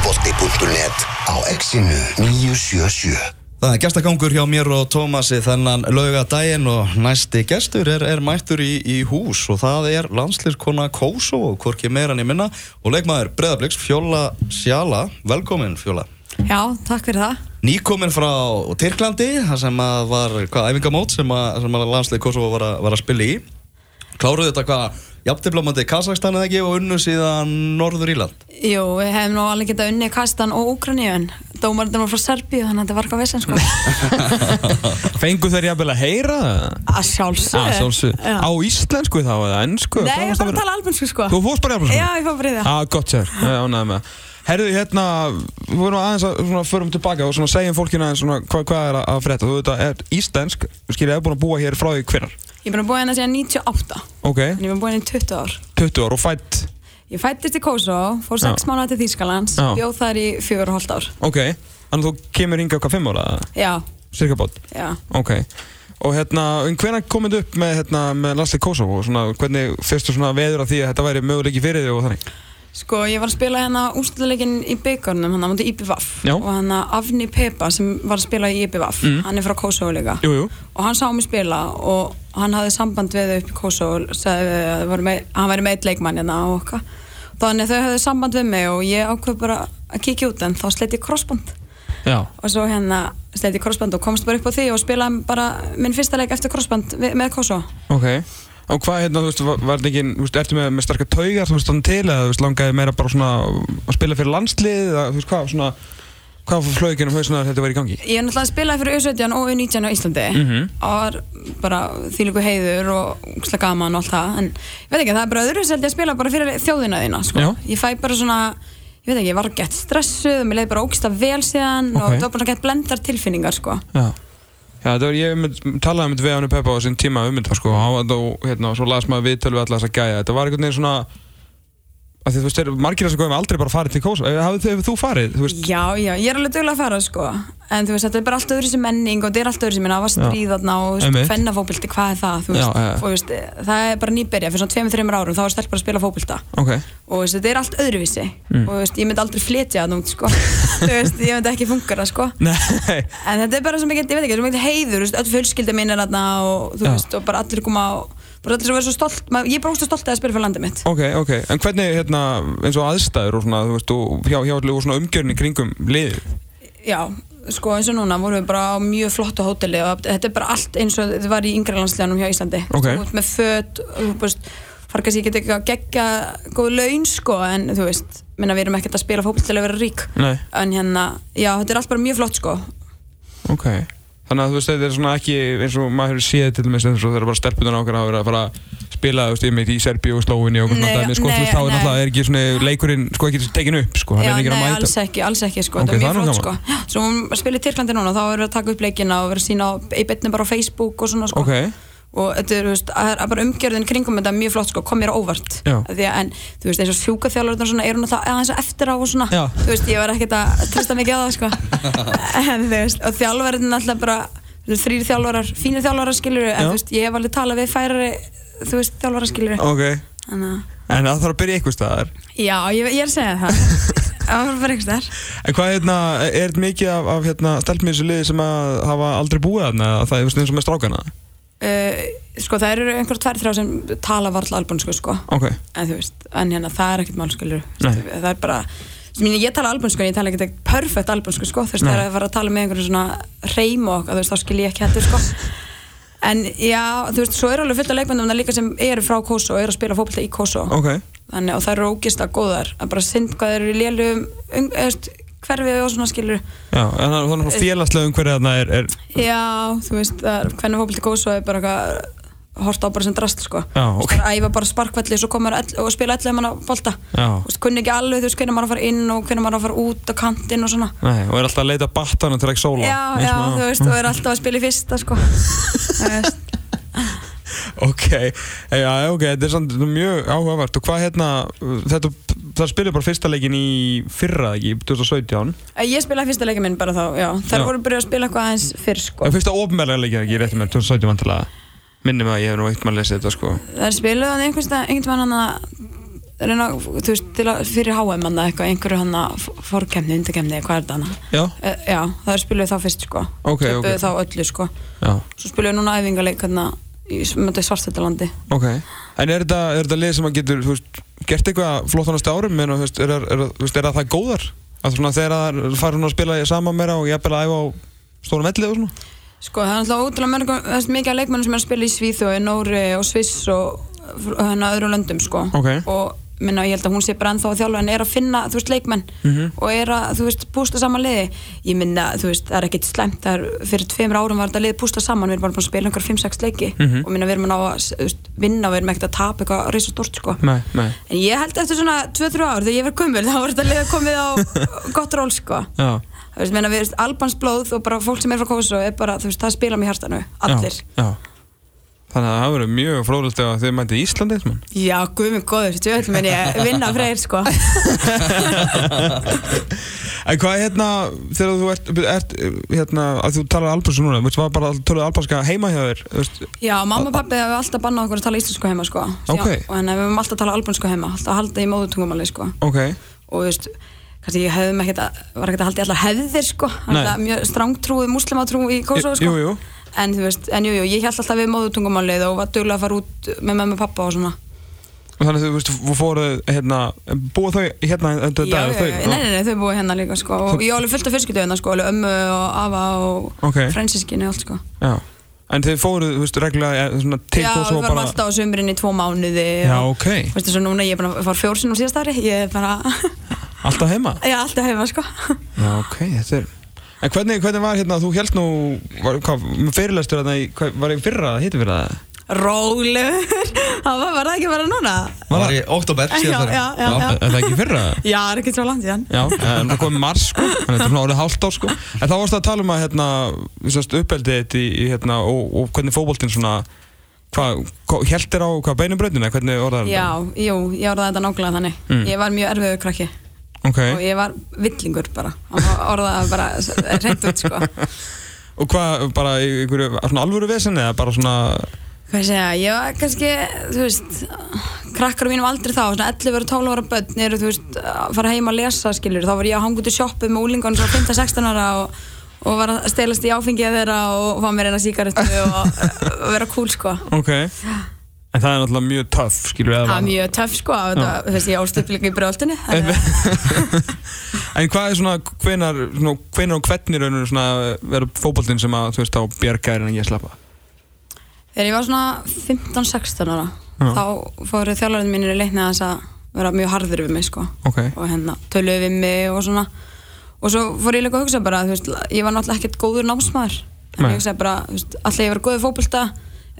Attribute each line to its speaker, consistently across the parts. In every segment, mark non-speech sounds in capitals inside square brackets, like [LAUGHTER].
Speaker 1: Brennsli.net á exinu 977
Speaker 2: Það er gestagangur hjá mér og Tómasi þennan laugadaginn og næsti gestur er, er mættur í, í hús og það er landslirkona Kóso, hvorki meira en ég minna og leikmaður Breðabliks, Fjóla Sjala, velkomin Fjóla.
Speaker 3: Já, takk fyrir það.
Speaker 2: Nýkomin frá Tyrklandi, það sem að var hvað, æfingamót sem að, sem að landslið Kosovo var að, var að spila í. Kláruðu þetta hvað, jafnteflamandi Kazakstan eða ekki og unnu síðan Norður Íland?
Speaker 3: Jú, við hefum nú alveg getað unnið Kastan og Úkraníun. Dómarinn var frá Serbíu, þannig að þetta var hvað vesen, sko.
Speaker 4: Fengu þeir jafnvel að heyra það?
Speaker 3: [LAUGHS] Að sjálfsögðu.
Speaker 4: Að sjálfsögðu.
Speaker 3: Já.
Speaker 4: Á íslensku þá eða ennsku?
Speaker 3: Nei, ég fór að tala albansku, sko.
Speaker 4: Þú fórst bara í albansku?
Speaker 3: Já, ég fór bara í það.
Speaker 4: Á, gott sér, ánægði með það. Herðu, hérna, við vorum aðeins að svona, förum tilbaka og svona, segjum fólkinu aðeins svona, hvað, hvað er að- að frétta. Þú veit að er íslensk, þú skilja, er búin að búa hér frá því hvernar.
Speaker 3: Ég er búin að búa hérna síðan 98,
Speaker 4: Ok,
Speaker 3: en ég er búin að búa hérna í 20 ár.
Speaker 4: 20 ár og fætt,
Speaker 3: Ég fættist í Kosovo, fór 6
Speaker 4: Já.
Speaker 3: mánuða til Þýskalands,
Speaker 4: Já.
Speaker 3: bjóð þar í 4,5 ár.
Speaker 4: ok. Þannig að þú kemur hingað hvað, 5 ára,
Speaker 3: Já,
Speaker 4: cirka bát?
Speaker 3: já.
Speaker 4: Ok. Og hérna, um hvernig komið upp með, hérna, með Lasli Kosovo? og Svona, hvernig fyrstu svona veður að því að þetta væri möguleiki fyrir þig og þannig?
Speaker 3: Sko, ég var að spila hérna úrstuleikin í byggarnum, hann á mútið IPVAF.
Speaker 4: Já.
Speaker 3: Og hann Afni Pepa sem var að spila í IPVAF,
Speaker 4: Mm.
Speaker 3: hann er frá Kosovo líka.
Speaker 4: Jú, jú.
Speaker 3: og hann sá mig spila og hann hafði samband við þau upp í Kosovo sagði að það voru með, hann væri með eitt leikmann hérna og okkar þannig að þau hafði samband við mig og ég ákveð bara að kíkja út en þá sleitt ég crossband
Speaker 4: Já.
Speaker 3: og svo hérna sleitt ég crossband og komst bara upp á því og spilaði bara minn fyrsta leik eftir crossband við, með Kosovo
Speaker 4: Ok, og hvað hérna, þú veist, var, var þetta ekki, þú veist, ertu með, með starka taugar, þú veist, þannig til, eða þú veist, langaði meira bara svona að spila fyrir landslið, eða þú veist, hvað, svona, hvað var flögin um hausuna þegar þetta var í gangi?
Speaker 3: ég er náttúrulega spilaði fyrir U17 og U19 á Íslandi
Speaker 4: Mhm.
Speaker 3: og var bara þýlíku heiður og úkslega gaman og allt það en ég veit ekki, það er bara öðru seldi að spila bara fyrir þjóðina þína sko.
Speaker 4: Já.
Speaker 3: ég fæ bara svona, ég veit ekki, ég var gett stressuð og mér leiði bara ógsta vel síðan og
Speaker 4: Ok.
Speaker 3: það var bara gett blendar tilfinningar sko.
Speaker 4: Já. Já, þetta var, ég mynd, talaði um þetta við hann Peppa á þessum tíma um þetta, sko, og hann var þá, hérna, og svo las maður viðtöl við alla þessa gæja, þetta var einhvern veginn svona, að því, þú veist, þeir- margir þessar góðum aldrei bara farið til Kosovo, Eh, hafið þið, hefur þú farið, þú veist,
Speaker 3: já, já, ég er alveg duglega að fara sko. en þú veist, þetta er bara allt öðru sem menning og þetta er allt öðru sem minna, það var stríð þarna og
Speaker 4: Einmitt.
Speaker 3: fennafóbildi, hvað er það þú veist,
Speaker 4: Já, já.
Speaker 3: og, þú veist, það er bara nýberja fyrir svona tveimur, þreimur árum, þá er stelpur að spila fóbilda
Speaker 4: ok,
Speaker 3: og þú veist, þetta er allt öðruvísi
Speaker 4: Mm.
Speaker 3: og þú veist, ég myndi aldrei flytja það nút sko. [LAUGHS] þú veist, ég myndi ekki fungara sko.
Speaker 4: [LAUGHS] nei,
Speaker 3: en þetta er bara sem ekki, ég veit ekki, sem ekki heiður þú veist, öll fjölskylda mín er þarna og þú
Speaker 4: Já.
Speaker 3: veist, og bara allir koma og bara allir sem verður svo stolt, maður, ég er bara óstu stolt að spila fyrir landið mitt
Speaker 4: ok, ok, en hvernig, hérna, eins og aðstæður og svona, þú veist, og hjá, hjá, og svona umgjörni kringum liðið?
Speaker 3: já, sko eins og núna vorum við bara á mjög flottu hóteli og þetta er bara allt eins og þetta var í yngri landsleganum hjá Íslandi
Speaker 4: Ok.
Speaker 3: þú veist, með föt, þú veist fara kannski ekki að gegja góð laun sko, en þú veist, minna við erum ekkert að spila fókbalt til að vera rík
Speaker 4: Nei.
Speaker 3: en hérna, já, þetta er allt bara mjög flott sko
Speaker 4: Ok, þannig að þú veist þetta er svona ekki eins og maður hefur séð til dæmis eins og þegar bara stelpunar okkar hafa verið að fara að spila þú veist, ég meit í Serbíu og Slóvinni og okkur svona
Speaker 3: Nei,
Speaker 4: dæmi, sko,
Speaker 3: nei,
Speaker 4: þú veist, þá er
Speaker 3: nei.
Speaker 4: náttúrulega er ekki svona leikurinn, sko, ekki tekin upp, sko, hann
Speaker 3: Já,
Speaker 4: er ekki að
Speaker 3: nei,
Speaker 4: mæta.
Speaker 3: alls ekki, alls ekki, sko,
Speaker 4: Ok,
Speaker 3: þetta er
Speaker 4: það er nú
Speaker 3: mjög flott, sko
Speaker 4: gaman.
Speaker 3: Svo hún spilir Tyrklandi núna, þá verður að taka upp leikina og verður að sína á, í betni bara á Facebook og svona, sko
Speaker 4: Ok,
Speaker 3: Og þetta er, þú veist, að það er bara umgjörðin kringum þetta er mjög flott, sko, kom mér á óvart
Speaker 4: Já.
Speaker 3: Af Því að, en, þú veist, eins og sjúkaþjálfurinn og svona, eru náttúrulega aðeins að eftir á og svona
Speaker 4: Já.
Speaker 3: Þú veist, ég var ekkert að trista mikið á
Speaker 4: [LAUGHS]
Speaker 3: það, sko En, þú veist, og þjálfurinn alltaf bara, þú veist, þrýr þjálfarar, fínir þjálfarar, skilur En,
Speaker 4: Já.
Speaker 3: þú veist, ég hef alveg talað við færari, þú veist, þjálfarar, skilur
Speaker 4: ok,
Speaker 3: Þannig að,
Speaker 4: en það þarf að byrja ykkur staðar.
Speaker 3: já, ég, ég er að segja
Speaker 4: [LAUGHS]
Speaker 3: það Það var bara einhvers þar
Speaker 4: En hvað hérna, er þetta mikið af, af hérna, stelpum í þessu liði sem að hafa aldrei búið þarna, að það er eins og með strákana?
Speaker 3: Uh, sko það eru einhver tvær þrjá sem tala varla albansku sko
Speaker 4: Ok,
Speaker 3: en þú veist, en hérna það er ekkert málskilur
Speaker 4: Nei.
Speaker 3: það er bara, sem ég, ég tala albansku en ég tala ekkert perfect albansku sko þú veist
Speaker 4: Nei.
Speaker 3: það er að fara að tala með einhverju svona reym og okkar, þú veist þá skil ég ekki hættu sko en já, þú veist, svo eru alveg fullt af leikmöndum það líka sem eru frá Kosovo og eru að spila fótbolta í Kosovo
Speaker 4: ok,
Speaker 3: þannig og það eru ógist að góðar að bara synd hvað þeir eru í lélum um, veist, hverfið og svona skilur
Speaker 4: já, en það er svona félagslega umhverfið þarna er, er,
Speaker 3: Já, þú veist, hvernig fókbalti góðsó er bara eitthvað hort á bara sem drast sko
Speaker 4: Já, ok.
Speaker 3: Það æfa bara sparkvelli svo komur og spila allir manna bolta
Speaker 4: Já.
Speaker 3: Þú veist, kunni ekki alveg, þú veist, hvernig maður á að fara inn og hvernig maður á að fara út á kantinn og svona
Speaker 4: nei, og er alltaf að leita battana til ekki sóla.
Speaker 3: Já,
Speaker 4: eins
Speaker 3: já,
Speaker 4: og-
Speaker 3: þú veist, og er alltaf að spila í fyrsta
Speaker 4: [LAUGHS]
Speaker 3: sko Þú veist,
Speaker 4: Ok, já, já, ok, þetta er samt mjög áhugavert og hvað hérna, þetta, það spilir bara fyrsta leikin í fyrra, ekki, 2017
Speaker 3: Ég spilaði fyrsta leikin minn bara þá, já Þær
Speaker 4: Já.
Speaker 3: voru byrjuð að spila eitthvað aðeins fyrr sko
Speaker 4: En fyrsta ofnmælega leikin, ekki, réttum með 2017 vantilega Minnum að ég hef nú eitt mann lesið þetta, sko
Speaker 3: Þær spilaði hann einhvers veginn einhvern veginn hann að reyna, þú veist, til að fyrir HM hann eitthvað, einhverju hann að fórkemni, undirkemni, hvað er þetta hann?
Speaker 4: Já,
Speaker 3: Eh, Já, það er spiluð þá fyrst, sko.
Speaker 4: Ok,
Speaker 3: Töpuðu
Speaker 4: ok.
Speaker 3: þá öllu, sko.
Speaker 4: já,
Speaker 3: Svo spiluðu núna æfingarleik hérna í svartættalandi.
Speaker 4: ok En er þetta, er þetta lið sem að getur, þú veist, gert eitthvað flott á næstu árum menn, og, þú veist, er, er, er, þú veist, er það það góðar? Að svona þegar það fara svona að spila saman meira og jafnvel að æfa á stórum velli og svona?
Speaker 3: Sko, það er alltaf ótrúlega mörgum, það er mikið af leikmennum sem er að spila í Svíþu og í Nóri og Sviss og fr- og hérna öðrum löndum, sko.
Speaker 4: Ok.
Speaker 3: Og minna, ég held að hún sé bara ennþá að þjálfa en er að finna, þú veist, leikmenn
Speaker 4: Mhm.
Speaker 3: og er að, þú veist, pústa saman liði. Ég minna, þú veist, það er ekkit slæmt, það er, fyrir tveimur árum var þetta liði pústa saman, við erum bara búin að spila einhver 5-6 leiki
Speaker 4: Mhm.
Speaker 3: og minna, við erum að ná að, þú veist, vinna og við erum ekkert að tapa eitthvað reysa sko.
Speaker 4: Nei, nei
Speaker 3: En ég held eftir svona 2-3 ár þegar ég verið kumul, [LAUGHS] þá var þetta liða komið
Speaker 4: [LAUGHS]
Speaker 3: á gott ról, sko.
Speaker 4: Já,
Speaker 3: Þú veist, meina, við veist, albans blóð og bara fólk sem er frá Kosovo er bara, þú veist, það spila mér hjartanu, allir.
Speaker 4: já, já. Þannig að það verður mjög fróðlegt ef þið mætið Íslandi eitt mann.
Speaker 3: Já, guð minn góður, þetta öll menn ég vinna freyr,
Speaker 4: [LAUGHS]
Speaker 3: sko.
Speaker 4: En hvað er hérna, þegar þú ert, ert hérna, að þú talar albansu núna, veist, var bara tölur albanska heima hjá þér, þú veist,
Speaker 3: Já, mamma og pappi hefur alltaf bannað okkur að tala íslensku heima, sko.
Speaker 4: Ok.
Speaker 3: Já, og þannig að við höfum alltaf að tala albansku heima, alltaf að halda í móðutungumáli, sko.
Speaker 4: ok,
Speaker 3: Og þú veist, kannski ég hefðum ekkert að, var ekkert að halda í allar hefðir, sko.
Speaker 4: Nei.
Speaker 3: Alltaf mjög strangtrúið muslimatrú í Kosovo,
Speaker 4: Jú,
Speaker 3: sko.
Speaker 4: jú.
Speaker 3: En þú veist, en jú, jú, ég held alltaf við móðutungumálið og var duglega að fara út með mömmu og pappa og svona.
Speaker 4: og þannig að þú veist, þú fóruð, hérna, búa þau hérna
Speaker 3: Já,
Speaker 4: endur
Speaker 3: já,
Speaker 4: dag,
Speaker 3: já, nei, nei, nei, þau búið hérna líka sko og ég á alveg fullt af fyrskildu hérna sko, alveg ömmu og afa og
Speaker 4: Ok.
Speaker 3: okay. fransískinu og allt sko
Speaker 4: já, en þau fóruð, þú veist, reglulega, eh, svona, til
Speaker 3: Já, við
Speaker 4: Kosovo
Speaker 3: varum
Speaker 4: bara,
Speaker 3: alltaf á sumrin í tvo mánuði
Speaker 4: já,
Speaker 3: og,
Speaker 4: ok,
Speaker 3: Veistu svo núna, ég er bara að fara fjórsinn á síðast ári Ég er bara, [LAUGHS]
Speaker 4: alltaf heima,
Speaker 3: já, alltaf heima sko [LAUGHS]
Speaker 4: já, ok, þetta er, en hvernig, hvernig var hérna, þú held nú, var, hvað, fyrirlæstur hérna, í- hvað- var ég fyrra, hitti fyrra,
Speaker 3: Rólegur, [LAUGHS] það var, var það ekki bara núna
Speaker 2: Var það í oktober
Speaker 3: Já,
Speaker 2: síðan
Speaker 3: já, já, já
Speaker 4: er það ekki fyrra?
Speaker 3: Já, það er ekki svo langt síðan
Speaker 4: Já, Eh, en það komið mars sko Þannig þetta er svona orðið hálft ár sko En þá varst að tala um að hérna, sérst, uppeldið þitt í, í, hérna, og, og hvernig fótboltinn svona hvað, hva, heldir á hvað beinum bröndina hvernig orðar
Speaker 3: Já, jú, ég orðaði þetta nákvæmlega þannig
Speaker 4: Mm.
Speaker 3: Ég var mjög erfiður krakki
Speaker 4: Ok,
Speaker 3: og ég var villingur bara og orðaði það bara reynd út sko
Speaker 4: og hvað, bara í einhverju svona alvöru vesenni eða bara svona
Speaker 3: hvað ég segja, ég var kannski þú veist, krakkar á mínum aldrei þá svona 11 og 12 ára börn eru þú veist að fara heim að lesa skilur þá var ég að hanga út í sjoppu með úlingan svo 15-16 ára og, og var að stelast í áfengið þeirra og fá mér eina síkaretu og, og vera cool sko
Speaker 4: Ok En það er náttúrulega mjög töff, skilur við
Speaker 3: það var mjög töff sko að þetta, þú veist, ég álst upp líka í brjóldinu þannig að-
Speaker 4: En hvað er svona, hvenar, svona, hvenar og hvernig raunur svona verður fótboltinn sem að, þú veist, þá bjargaðir en ég slappa?
Speaker 3: þegar ég var svona 15-16 ára
Speaker 4: Já.
Speaker 3: þá fóru þjálfarinn mínir í leikni að þess að vera mjög harður við mig sko
Speaker 4: Ok,
Speaker 3: og hérna töluðu við mig og svona og svo fór ég líka að hugsa bara þú veist, ég var náttúrulega ekkert góður námsmaður en
Speaker 4: Nei.
Speaker 3: ég hugsaði bara, þú veist, ætla ég að vera góður í fótbolta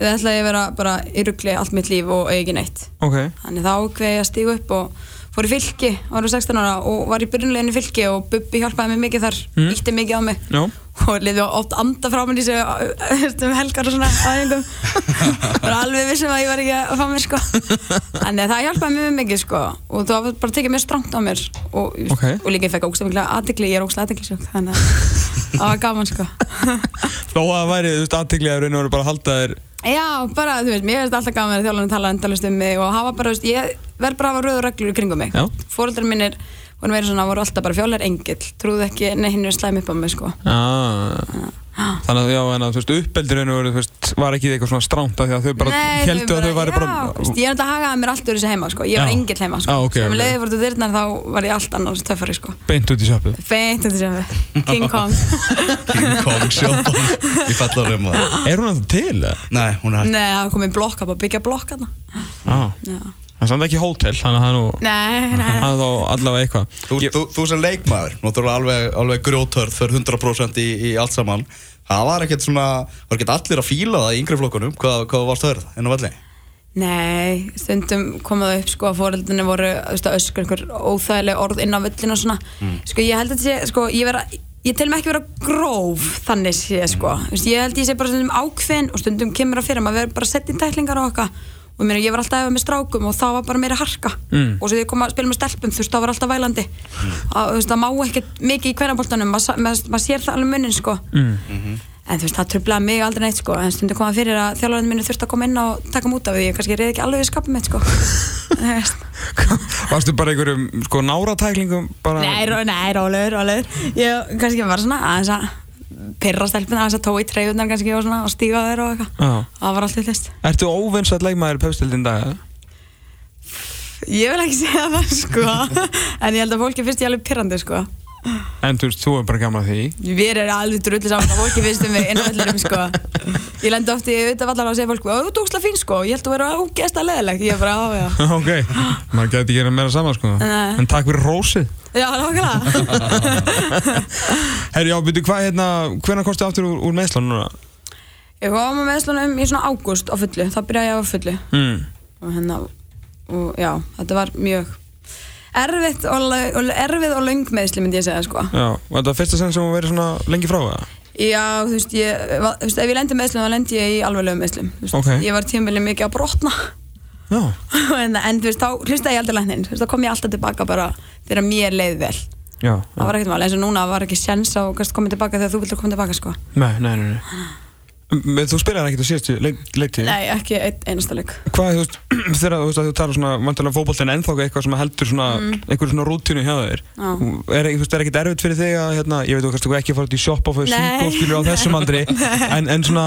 Speaker 3: eða ætla ég að vera bara í ruggli allt mitt líf og eiga ekki neitt
Speaker 4: ok,
Speaker 3: þannig þá ákveði ég að stíga upp og fór í fylki, ára 16 ára og var í byrjunleginu fylki og Bubbi hjálpaði mér mikið þar
Speaker 4: Mm.
Speaker 3: ítti mikið á mig
Speaker 4: já
Speaker 3: og liði oft anda frá mér í þessu um helgar og svona aðeingum bara alveg vissum að ég var ekki að fá mér sko en það hjálpaði mjög mikið sko og það var bara tekið mjög strangt á mér og,
Speaker 4: Ok.
Speaker 3: og líka ég fekk ógstlega mikla aðdegli ég er ógstlega aðdeglisjók þannig að það var gaman sko
Speaker 4: Þó að það væri, þú veist, aðtegli að raunur bara að halda þér
Speaker 3: já bara þú veist mér finnst alltaf gaman að þjálfarnir tala endalist um mig og hafa bara þú veist ég verð bara að hafa rauður reglur í kringum mig
Speaker 4: Já.
Speaker 3: fóreldrar mínir voru meira svona voru alltaf bara fjólar engill trúðu ekki neinnir slæm upp á mig sko
Speaker 4: Ah. Þannig að, já, en að, þú veist, uppeldurinn voru, þú veist, var ekki eitthvað svona stránt af því að þau bara
Speaker 3: Nei,
Speaker 4: heldu að þau væri bara
Speaker 3: já, veist, ég er alltaf að hagaði mér allt úr þessu heima sko. ég var
Speaker 4: Já.
Speaker 3: engill heima sko.
Speaker 4: Já, ok,
Speaker 3: sem
Speaker 4: ok.
Speaker 3: okay. leiði fórt úr dyrnar þá var ég allt annars töffari sko.
Speaker 4: beint út í sjöpu
Speaker 3: feint þetta sem [LAUGHS] við King Kong
Speaker 2: King Kong sjópan Ég fell á reyma
Speaker 4: Er hún að það til? eða?
Speaker 2: Nei, hún er hægt
Speaker 3: Nei, það var komið blokk, það var að byggja blokk þarna.
Speaker 4: Já,
Speaker 3: Já.
Speaker 4: það er samt ekki hótel, þannig að það er nú
Speaker 3: Nei, nei,
Speaker 4: Það er þá allavega eitthvað
Speaker 2: Þú,
Speaker 4: Ég-
Speaker 2: þú, þú sem leikmaður, náttúrulega alveg, alveg grjótörð fyrir 100% í, í allt saman Það var ekkert svona, var ekkert allir að fíla það í yngri flokkunum Hvað, hvað varst hörð enn á velli?
Speaker 3: nei stundum kom það upp sko, að fóreldinu voru þú veist, að öskur einhver óþægileg orð inn á völlinu og svona sko, ég held að þetta sé sko, ég, vera, ég tel mig ekki vera gróf þannig sé sko. mm. ég held að ég sé bara stundum ákveðin og stundum kemur að fyrir maður verður bara sett í tæklingar á okkar og mér, ég var alltaf að efa með strákum og það var bara meira harka
Speaker 4: Mm.
Speaker 3: og svo þegar ég kom að spila með stelpum þú veist það var alltaf vælandi mm. að, þú veist, það má ekkert mikið í hverjaboltanum maður sa- maður- maður sér það alveg munin sko.
Speaker 4: Mm.
Speaker 3: en en þú veist, það trublaði mig aldrei neitt sko, en stundu koma fyrir að þjálfarinn minni þurfti að koma inn og taka mút af því, ég kannski reyði ekki alveg við skapum mitt sko Þú veist.
Speaker 4: Varstu bara einhverjum sko náratæklingum bara...
Speaker 3: Nei, ró, nei, rólegur, rólegur Ég kannski var svona aðeins að pyrra stelpina, aðeins að tói treyjurnar kannski og svona og stíga þeir og eitthvað
Speaker 4: Já.
Speaker 3: Það var allt í list
Speaker 4: Ertu óvinnsætt leikmaður í pefstildin dag? eða?
Speaker 3: Ég vil ekki [LAUGHS] segja það sko En ég held að fólki finnst ég alveg pyrrandi sko
Speaker 4: En þú veist, þú er bara gaman að því
Speaker 3: Við erum alveg drullu saman að fólki finnst um mig inn á vellurum sko Ég lendi oft í auðvitaðvallar og segja fólk Ó, þú tóksla fín sko, ég held að þú verður ógeðslega leðileg Ég er bara, á, já
Speaker 4: [LAUGHS] Ok, maður geti gera meira saman sko
Speaker 3: Nei.
Speaker 4: En takk fyrir rósið
Speaker 3: Já, nákvæmlega
Speaker 4: Herri, já, byrju, hvað, hérna, hvernig kosti aftur úr, úr meðslan núna?
Speaker 3: Ég kom með slunum í svona ágúst á fullu Þá byrjaði ég á fullu
Speaker 4: Mm.
Speaker 3: og hérna og já, þetta var mjög erfitt og, la- og erfið og löng meðsli myndi ég segja sko
Speaker 4: Já, og þetta er fyrsta sen sem hún verið svona lengi frá það?
Speaker 3: já, þú veist, ég, va- þú veist ef ég lendi meðslum þá lendi ég í alveglegum meðslum þú veist,
Speaker 4: Ókei.
Speaker 3: ég var tímabilið mikið að brotna [LAUGHS]
Speaker 4: Já,
Speaker 3: en, en þú veist, þá hlustaði ég aldrei læknin þú veist, þá kom ég alltaf tilbaka bara þegar mér leið vel
Speaker 4: já
Speaker 3: það var ekkert mál, eins og núna var ekki sjens á að koma tilbaka þegar þú vildur koma tilbaka sko
Speaker 4: Nei, nei, nei, nei. Men Mm, Þú spilaði ekkert á síðustu leik, leiktíð
Speaker 3: nei, ekki einn einasta leik
Speaker 4: Hvað, þú veist, [CLEARS THROAT] þegar þú veist að þú talar svona vantarlega fótboltin ennþá eitthvað sem heldur svona einhver svona rútínu hjá þér
Speaker 3: Mm. Já.
Speaker 4: er, þú veist, er ekkert erfitt fyrir þig að hérna, ég veit þú kannski ekki að fara út í shop og fyrir
Speaker 3: Nei.
Speaker 4: síkóskilur á
Speaker 3: [LAUGHS]
Speaker 4: þessum andri en, en svona,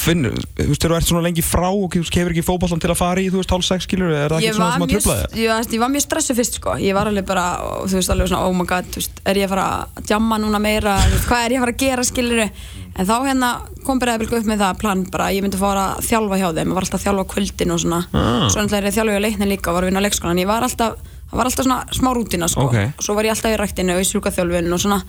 Speaker 4: finn, þú veist, þegar þú ert svona lengi frá og þú veist, hefur ekki fótboltin til að fara í þú veist, hálf sex skilur, er það
Speaker 3: ég
Speaker 4: ekki svona
Speaker 3: var,
Speaker 4: sem að
Speaker 3: mjög,
Speaker 4: trubla þér?
Speaker 3: ég, var, ég var mjög stressu fyrst sko ég var alveg bara, og þú veist alveg svona oh my god, þú veist, er ég að fara að jamma núna meira Þú veist, hvað er ég að fara að gera skilur en þá hérna kom bara eða upp með það plan bara, ég myndi fara að þjálfa hjá þeim ég var alltaf að þjálfa á kvöldin og svona
Speaker 4: Ah.
Speaker 3: svo náttúrulega er ég að þjálfa hjá leiknin líka og var að vinna á leikskólan ég var alltaf, það var alltaf svona smá rútina sko
Speaker 4: Ókei.
Speaker 3: svo var ég alltaf í ræktinu og í sjúkaþjálfun og svona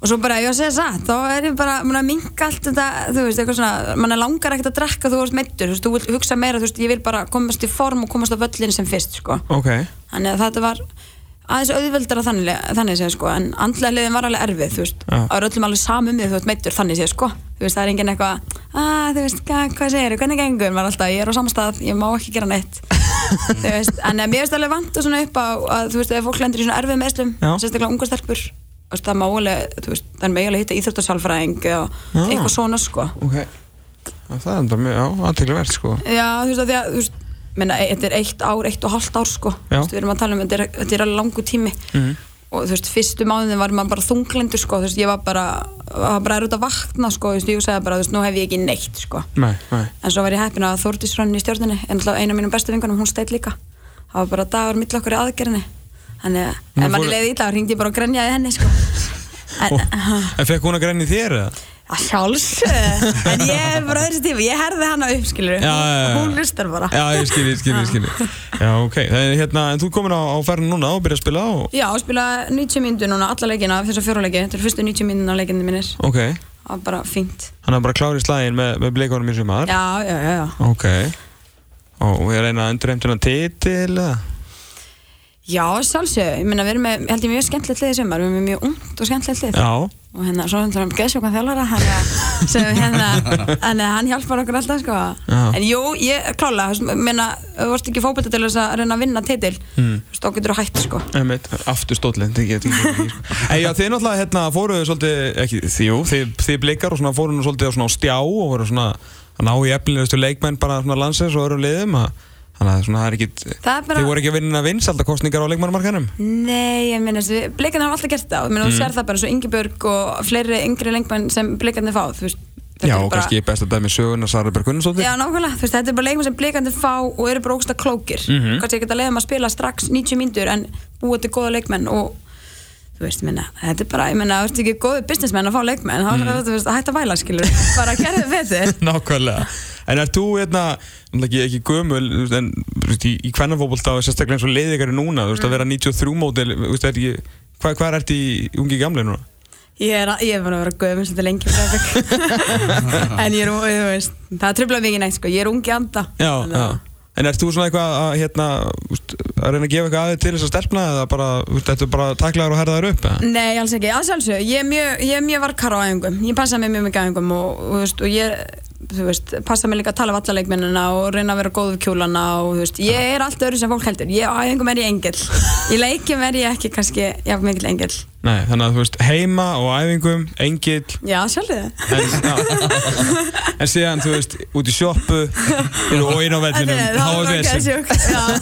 Speaker 3: og svo bara, ef ég var að segja satt, þá er ég bara mun að minka allt þetta, þú veist, eitthvað svona mann langar ekkert að drekka þú ert meittur þú veist, þú vil hugsa meira, þú veist, ég vil bara komast í form og komast á völlin sem fyrst, sko
Speaker 4: Ok,
Speaker 3: þannig að þetta var aðeins auðveldara þannig, þannig séð, sko en andlega liðin var alveg erfið, þú veist
Speaker 4: Já.
Speaker 3: það er öllum alveg samum við þú ert meittur, þannig séð, sko þú veist, það er engin eitthvað, að, þú veist, hvað, hvað segir hvernig gengur, maður alltaf, ég er á samastað ég má ekki gera
Speaker 4: [LAUGHS]
Speaker 3: neitt Þú veist, en eh, mér finnst alveg vant og svona upp á að, þú veist, ef fólk lendir í svona erfið meðslum
Speaker 4: Já.
Speaker 3: sérstaklega unga stelpur þú veist, það má alveg, þú veist, það er megilega hitta íþjóttasálfræðing og
Speaker 4: Já.
Speaker 3: eitthvað svona, sko
Speaker 4: ok Já, Það er enda mjög, já, aðteglivert sko
Speaker 3: já, þú veist, að því að, þú veist menna, þetta er eitt ár, eitt og halvt ár, sko
Speaker 4: Já. Mhm.
Speaker 3: þú veist, við erum að tala um, þetta er, þetta er alveg langu tími og þú veist, fyrstu mánuðin var maður bara þunglindur, sko, þú veist, ég var bara var bara er út að vakna, sko, þú veist, ég sagði bara, þú veist, nú hef ég ekki neitt, sko
Speaker 4: Nei, nei,
Speaker 3: en svo var ég heppin að Þórdís rann í stjórninni en alltaf eina af mínum bestu vingunum, hún steitt líka það var bara dagur mill okkur í aðgerðinni þannig að
Speaker 4: Hún
Speaker 3: ef
Speaker 4: fór-
Speaker 3: maður leiði illa þá hringdi ég bara og grenjaði henni sko. en
Speaker 4: En fekk hún að grenni þér eða?
Speaker 3: að sjálfs en ég er bara öðru tíma, ég herði hana upp skilur,
Speaker 4: Já, já, já.
Speaker 3: hún lustar bara
Speaker 4: Já, ég skil, ég skil, ég skil Já, ok, en, hérna, en þú er komin á, á ferðin núna og byrja að spila og
Speaker 3: já, og spila 90 myndu núna, alla leikina af þessar fjóruleiki, þetta er fyrstu 90 myndun á leikinni minnir
Speaker 4: Ok,
Speaker 3: það var bara fínt
Speaker 4: hann er bara klár í slæðin með, með bleikunum í sumar
Speaker 3: já, já, já, já
Speaker 4: Ok Og við reyna að endurheimta hennar titil eða?
Speaker 3: já, sjálfsög, ég meina við erum með, held ég mjög skemmtilegt lið í sumar, við erum með mjög ungt og skemmtilegt lið
Speaker 4: Já
Speaker 3: og hérna, svo hendur hann geðsjókan þjálfara hann
Speaker 4: [LAUGHS]
Speaker 3: er- sem hérna hann, hann hjálpar okkur alltaf sko
Speaker 4: Já.
Speaker 3: en jú, ég klála, menna þú vorst ekki fókbælta til þess að reyna að vinna titil
Speaker 4: Hmm.
Speaker 3: mm. þá getur þú hætt sko
Speaker 4: Einmitt, aftur stóllin Þegar sko. [LAUGHS] já, þið náttúrulega hérna fóruðu svolítið ekki, Þjú, þið, þið blikar og svona fóruðu nú svolítið á svona á stjá og voru svona að ná í efnilegustu leikmenn bara svona landsins og öðrum liðum að- Þannig að svona það er ekki
Speaker 3: Það er bara-
Speaker 4: Þið voru ekki að vinna vinsaldakostningar á leikmannmarkanum
Speaker 3: nei, ég meina, blikarnir hafa alltaf gert það menna,
Speaker 4: Hmm.
Speaker 3: mm. þú sér það bara svo Ingeborg og fleiri yngri lengmenn sem blikarnir fá þú veist, þetta
Speaker 4: Já,
Speaker 3: er
Speaker 4: og
Speaker 3: bara-
Speaker 4: kannski best að dæmi söguna Sara Berg Gunnarsdóttir
Speaker 3: Já, nákvæmlega, þú veist, þetta er bara leikmenn sem blikandi fá og eru bara ógsta klókir
Speaker 4: Mhm.
Speaker 3: kannski ekki að leiðum að spila strax 90 mínútur en búa til góða leikmenn og þú veist, ég minna, þetta er bara, ég minna, þú veist ekki góði businessmenn að fá leikmenn, þá mm. þú veist, hætt að væla skilur, bara gerðu betur
Speaker 4: Nákvæmlega En er þú hérna, náttúrulega ekki, ekki gömul þú veist, en þú veist, í, í kvennafótbolta og sérstaklega eins og leiðigari núna, þú veist
Speaker 3: Mm.
Speaker 4: að vera 93 mótil, þú veist, er ekki hvað, hvað ertu í ungi gamli núna?
Speaker 3: ég er, að- ég er bara að vera gömur svolítið lengi Breiðablik. en ég er, þú veist það tröfla mikið neitt, sko, ég er ungi anda Þannig að-
Speaker 4: En ert þú svona eitthvað að hérna, þú veist, að reyna að gefa eitthvað aðeins til þess að stelpna eða bara, þú veist, þetta er bara taklaður og herðaður upp eða?
Speaker 3: Nei, alls ekki, að sjálfsög, ég er mjög, ég er mjög varkar á æfingum, ég passa mig mjög mikið á æfingum og, og, þú veist, og ég þú veist, passa mig líka að tala við alla leikmennina og reyna að vera góð við kjólana og þú veist, ég er allt öðru sem fólk heldur ég á æfingum er ég engil í leikjum er ég ekki kannski, já, mikil engil
Speaker 4: Nei, þannig að þú veist, heima og á æfingum, engill
Speaker 3: já, sjálf þið
Speaker 4: en, [LAUGHS] já. en síðan, þú veist, út í sjoppu og inn á vellinum þá er vesen. [LAUGHS]
Speaker 3: þessi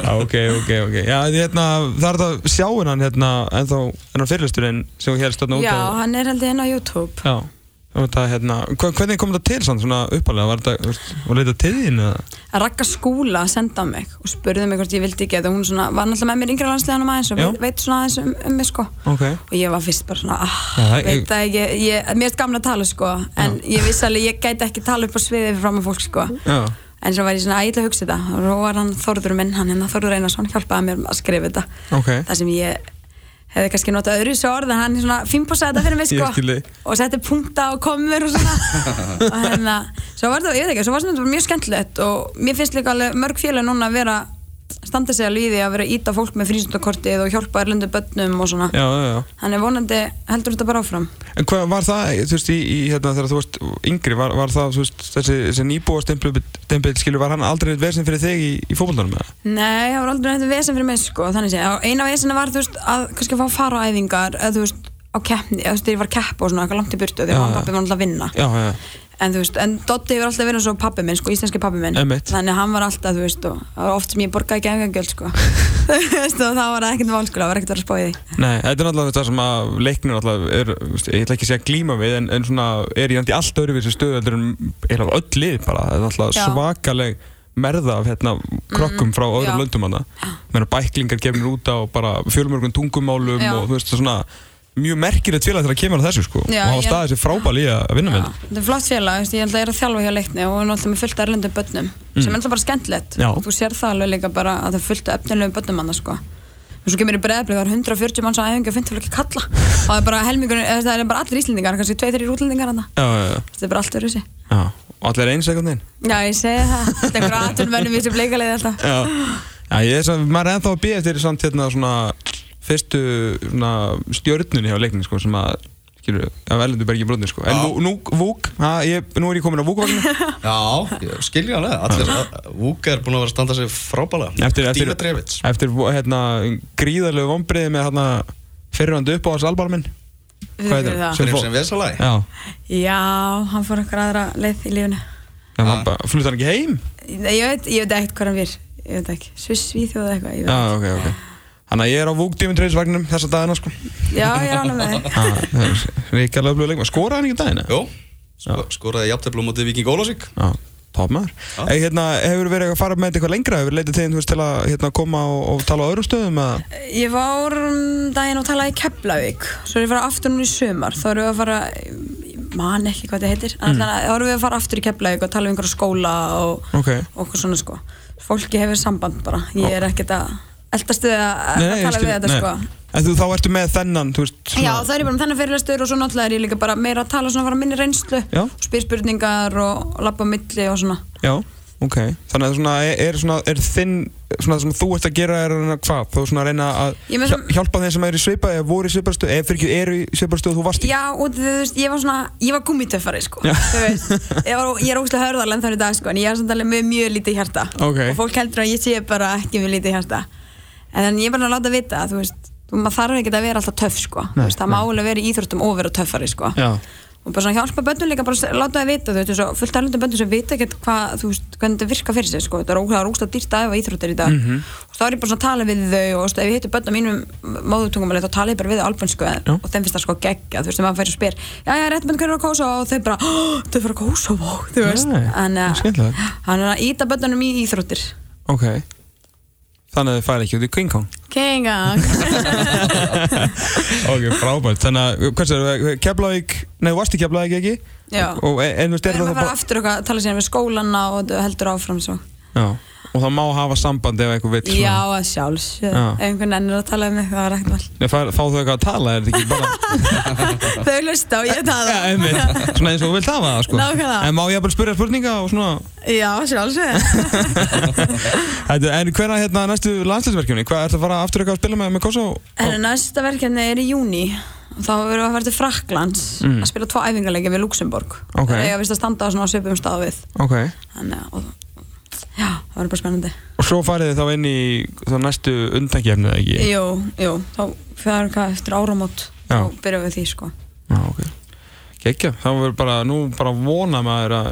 Speaker 4: Já, ok, ok, ok Já, því hérna, það er það sjáin hann hérna en þá, en á fyrirlisturinn sem hún helst þarna út
Speaker 3: já,
Speaker 4: af-
Speaker 3: hann er held ég inn á YouTube
Speaker 4: Já, og það hérna hva, hvernig kom þetta til sann, svona uppalega var þetta, þú veist, var leitað til þín eða?
Speaker 3: Ragga skúla senda mig og spurði mig hvort ég vildi ekki þetta og hún svona, var náttúrulega með mér yngra landsleganum aðeins og
Speaker 4: Já.
Speaker 3: veit- veit svona aðeins um, um mig sko
Speaker 4: Ok,
Speaker 3: og ég var fyrst bara svona ah,
Speaker 4: Já, það-
Speaker 3: veit það ekki, ég, mér erst gamla að tala sko en ég vissi alveg, ég gæti ekki tala upp á sviði fyrir fram að fólk sko
Speaker 4: já,
Speaker 3: en svo var ég svona, að ég ætla að hugsa þetta og svo var hann Þorður minn, hann hérna Þorður Einarsson hjálpaði mér að skrifa þetta
Speaker 4: ok
Speaker 3: það sem ég hefði kannski notað öðru svo orð en hann svona fínpósaði þetta
Speaker 4: [LAUGHS]
Speaker 3: fyrir mig
Speaker 4: Ég skil þig.
Speaker 3: sko og setti punkta og komur og svona
Speaker 4: [LAUGHS]
Speaker 3: og hérna, svo var þetta, ég veit ekki, svo var þetta bara mjög skemmtilegt og mér finnst líka alveg mörg félag núna að vera standa sig alveg í því að vera að íta fólk með frísundakortið og hjálpa erlendu börnum og svona
Speaker 4: Já, já, já
Speaker 3: Þannig vonandi heldur þetta bara áfram.
Speaker 4: En hvað var það, þú veist, í, í hérna, þegar þú varst yngri, var, var það, þú veist, þessi, þessi nýbúa stempill, skilur, var hann aldrei neitt vesin fyrir þig í, í fótbollunum eða?
Speaker 3: Nei, það var aldrei neitt vesen fyrir mig sko, þannig sé. Eina vesena var, þú veist, að kannski fá að fara á æfingar, eða þú veist, á keppni, eða þú veist, þegar ég var að keppa og svona, eitthvað langt í burtu,
Speaker 4: Já,
Speaker 3: þegar hann
Speaker 4: já.
Speaker 3: pappi var alltaf að vinna.
Speaker 4: Já, já,
Speaker 3: En þú veist, en Dotti hefur alltaf verið svo pappi minn, sko, íslenski pappi minn.
Speaker 4: Einmitt.
Speaker 3: Þannig að hann var alltaf, þú veist, og það var oft sem ég borgaði ekki engangjöld,
Speaker 4: [LAUGHS]
Speaker 3: sko. þú veist, og það var ekkert vál, sko, það var ekkert að vera að spá í því.
Speaker 4: Nei, þetta er náttúrulega það sem að leiknir náttúrulega er, þú veist, ég ætla ekki að segja glíma við en, en svona er í náttúrulega allt öðru við þessu stöðu heldur en er af öll lið bara, það er náttúrulega
Speaker 3: Já. Mm.
Speaker 4: svakaleg merða af hérna krokkum frá öðrum
Speaker 3: já.
Speaker 4: löndum hana meðan bæklingar gefnir út á bara fjölmörgum tungumálum
Speaker 3: Já.
Speaker 4: og þú veist svona mjög merkilegt félag þegar að kemur að þessu sko
Speaker 3: Já,
Speaker 4: og hafa
Speaker 3: ég-
Speaker 4: staðið sér frábæl í að vinna með þetta
Speaker 3: Þetta er flott félag, þú veist, ég held að ég er að þjálfa hjá leikni og hún er alltaf með fullt af erlendum börnum, sem er alltaf bara skemmtilegt.
Speaker 4: Já.
Speaker 3: Þú sér það alveg líka bara að það er fullt af efnilegum börnum annars, sko. Og svo kemur í breiðablið, það er 140 manns á æfingu og 50 fólki kalla. Og það er bara helmingur, eða það er bara allir íslendingar, kannski 2-3 útlendingar hann.
Speaker 4: Já, já, já,
Speaker 3: Þetta er bara allt öðru
Speaker 4: já, og allir eins eitthvað neginn
Speaker 3: Já, ég segi það. [LAUGHS] Þetta er einhverja atvinnmönnum í þessu bleikaliði alltaf.
Speaker 4: Já, já ég er svo, maður er ennþá að býja eftir samt hérna svona fyrstu svona stjörnunni hjá leikning sko sem að skilur, að velendu bara ekki brotni sko en
Speaker 2: Já.
Speaker 4: nú, nú, Vúk, ha, ég, nú er ég komin á Vúkvagnu
Speaker 2: [LAUGHS] Já, skilja alveg, allir Vúka er búin að vera að standa sig frábælega
Speaker 4: eftir, eftir,
Speaker 2: Díma Drevits
Speaker 4: eftir hérna, gríðarlegu vombriði með hérna fyrirhandi upp á hans albalminn
Speaker 3: Við
Speaker 4: Hvað
Speaker 3: fyrir
Speaker 4: heitir hann?
Speaker 3: það.
Speaker 4: Sem
Speaker 2: Fyrir
Speaker 4: fó-
Speaker 2: sem vesalæg
Speaker 4: Já,
Speaker 3: Já, hann fór einhver aðra leið í lífunu.
Speaker 4: en hann bara, flutt hann ekki heim?
Speaker 3: Nei, Ég veit, ég veit ekkert hvað hann vir. Ég veit ekki. Sviss, Svíþjóð eða eitthvað. ég veit.
Speaker 4: Já, Ah, ok, ok Þannig að ég er á Vúk Dímin Treyðisvagnum þessa dagina
Speaker 2: [LAUGHS]
Speaker 4: sko
Speaker 3: Já, ég er alveg með þig.
Speaker 4: Ah, Ríkjalega blöðu leikma, skoraði hann ekki dagina?
Speaker 2: Jó, sko, skoraði jafnteflu á móti Viking Ólásík
Speaker 4: Já, top maður
Speaker 2: Já.
Speaker 4: Eða hérna, hefur verið að fara með þetta eitthvað lengra hefur leitið til þín, þú veist, til að hérna, koma og, og tala á öðrum stöðum eða?
Speaker 3: Ég var um daginn og talaði í Keflavík. Svo er ég að fara aftur núna í sumar. Þá erum við að fara, ég man ekki hvað þetta heitir. Mm. Þá erum við að fara aftur í Keflavík og tala um einhverja skóla og,
Speaker 4: Ok.
Speaker 3: og okkur svona sko. Fólki hefur samband bara. Ég er ekkert að eldast við að, að
Speaker 4: ég
Speaker 3: tala
Speaker 4: skil-
Speaker 3: við þetta sko.
Speaker 4: En þú þá ertu með þennan, þú veist
Speaker 3: Já, það er ég bara með þennan fyrirlestur og svo náttúrulega er ég líka bara meira að tala svona frá minni reynslu
Speaker 4: Já.
Speaker 3: og spyr spurningar og labba á milli og svona.
Speaker 4: Já, ok Þannig að svona, er, er, svona, er þinn svona það sem þú ert að gera er að reyna hvað þú svona að reyna að
Speaker 3: Ég með
Speaker 4: hjá-
Speaker 3: sem-
Speaker 4: hjálpa þeim sem eru í svipa eða voru í svipastu eða fyrir ekki eru í svipastu og þú varst í
Speaker 3: Já, og þú veist, ég var svona, ég var gummitöffari sko,
Speaker 4: Já.
Speaker 3: þú veist, ég, var, ég er ógustlega hörðarlega þannig í dag sko, en ég er samt alveg með mjög lítið hjarta
Speaker 4: Ok.
Speaker 3: og fólk heldur að ég sé bara ekki með lítið hjarta, en þannig ég er bara að láta vita að þú veist, þú- maður þarf ekki að vera alltaf töff sko,
Speaker 4: Nei,
Speaker 3: þú veist, það má alveg vera í íþróttum og vera töffari sko.
Speaker 4: Já.
Speaker 3: og bara svona hjálpa bönnum líka bara að láta það vita þú veist, eins og fullt erlendum bönnum sem vita ekkert hvað þú veist, hvernig þetta virkar fyrir sig sko, þetta er ógæða rústa dýrt aðeva íþróttir í dag
Speaker 4: Mhm.
Speaker 3: og þá er ég bara svona að tala við þau og þú veist, ef ég hittu bönnum mínum móðutungumali þá tala ég bara við þau albönsku
Speaker 4: Já.
Speaker 3: og þeim finnst það sko geggja, þú veist, þegar maður fær og spyr já, já, rétt bönn hvernig er að kósa og þau bara "Hó, þau fara að kósa, þú veist
Speaker 4: Nei,
Speaker 3: en eh,
Speaker 4: skemmtilegt.
Speaker 3: hann er að íta bönnunum í íþróttir
Speaker 4: Ok Þannig að þið færi ekki út í King Kong
Speaker 3: Kengang
Speaker 4: Ok, frábært Þannig að, hversu, Keflavík, nei, þú varst í Keflavík ekki?
Speaker 3: [LAUGHS] Já.
Speaker 4: Og, en, en, þú veist,
Speaker 3: Við
Speaker 4: er
Speaker 3: erum að
Speaker 4: það þá bara-
Speaker 3: fara aftur okkar, tala sér með skólanna og þetta heldur áfram svo.
Speaker 4: Já, og það má hafa samband ef eitthvað vill sko.
Speaker 3: Já, að sjálfs.
Speaker 4: Já.
Speaker 3: Ef einhvern enn er að tala um eitthvað, það er ekkert mál.
Speaker 4: Nei, fá, fá þau eitthvað að tala, er þetta ekki
Speaker 3: [LAUGHS]
Speaker 4: bara
Speaker 3: Þau hlusta og ég tala
Speaker 4: [LAUGHS] Já, einmitt, svona eins og þú vilt hafa það sko.
Speaker 3: Nákvæmlega.
Speaker 4: En má ég bara spyrja spurninga og svona
Speaker 3: Já, sjálfsög
Speaker 4: Þetta- En hverna hérna næstu landslæsverkjumni? Hvað ertu að fara aftur eitthvað að spila með, með Kosovo?
Speaker 3: En næsta verkefni er í júni þá verður að fara til Fraklands að spila tvo æfingarleiki við Luxemborg
Speaker 4: Mm. Ok.
Speaker 3: það eiga vist að standa á svona svipum stað við
Speaker 4: Ok,
Speaker 3: þannig að og, já, það verður bara spennandi
Speaker 4: og svo farið þið þá inn í þá næstu undangefnið eða ekki?
Speaker 3: jú, jú, þá fyrir hvað eftir áramót
Speaker 4: Já.
Speaker 3: þá byrjum við því sko
Speaker 4: Já, ok Gekja, þá verður bara, nú bara vona maður að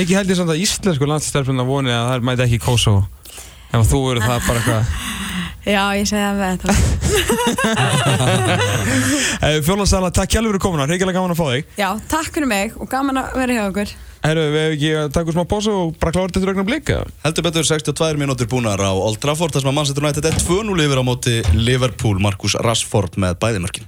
Speaker 4: Mikið held ég samt að íslensku landstelpunar voni að það mæti ekki í Kosovo Ef að þú verður það bara
Speaker 3: [LAUGHS]
Speaker 4: eitthvað
Speaker 3: já, ég segi það með þetta
Speaker 4: [LAUGHS] Eh, Fjólasala, takk hjálfur fyrir komuna, reykilega gaman að fá þig
Speaker 3: já, takk fyrir mig og gaman að vera hjá okkur
Speaker 4: Herru, við hefum ekki að taka smá pásu og bara klára þetta rögnum blika
Speaker 2: Heldur betur 62 mínútur búnar á Old Trafford þar sem að Manchester United er 2-0 yfir á móti Liverpool Markus Rashford með bæðimörkin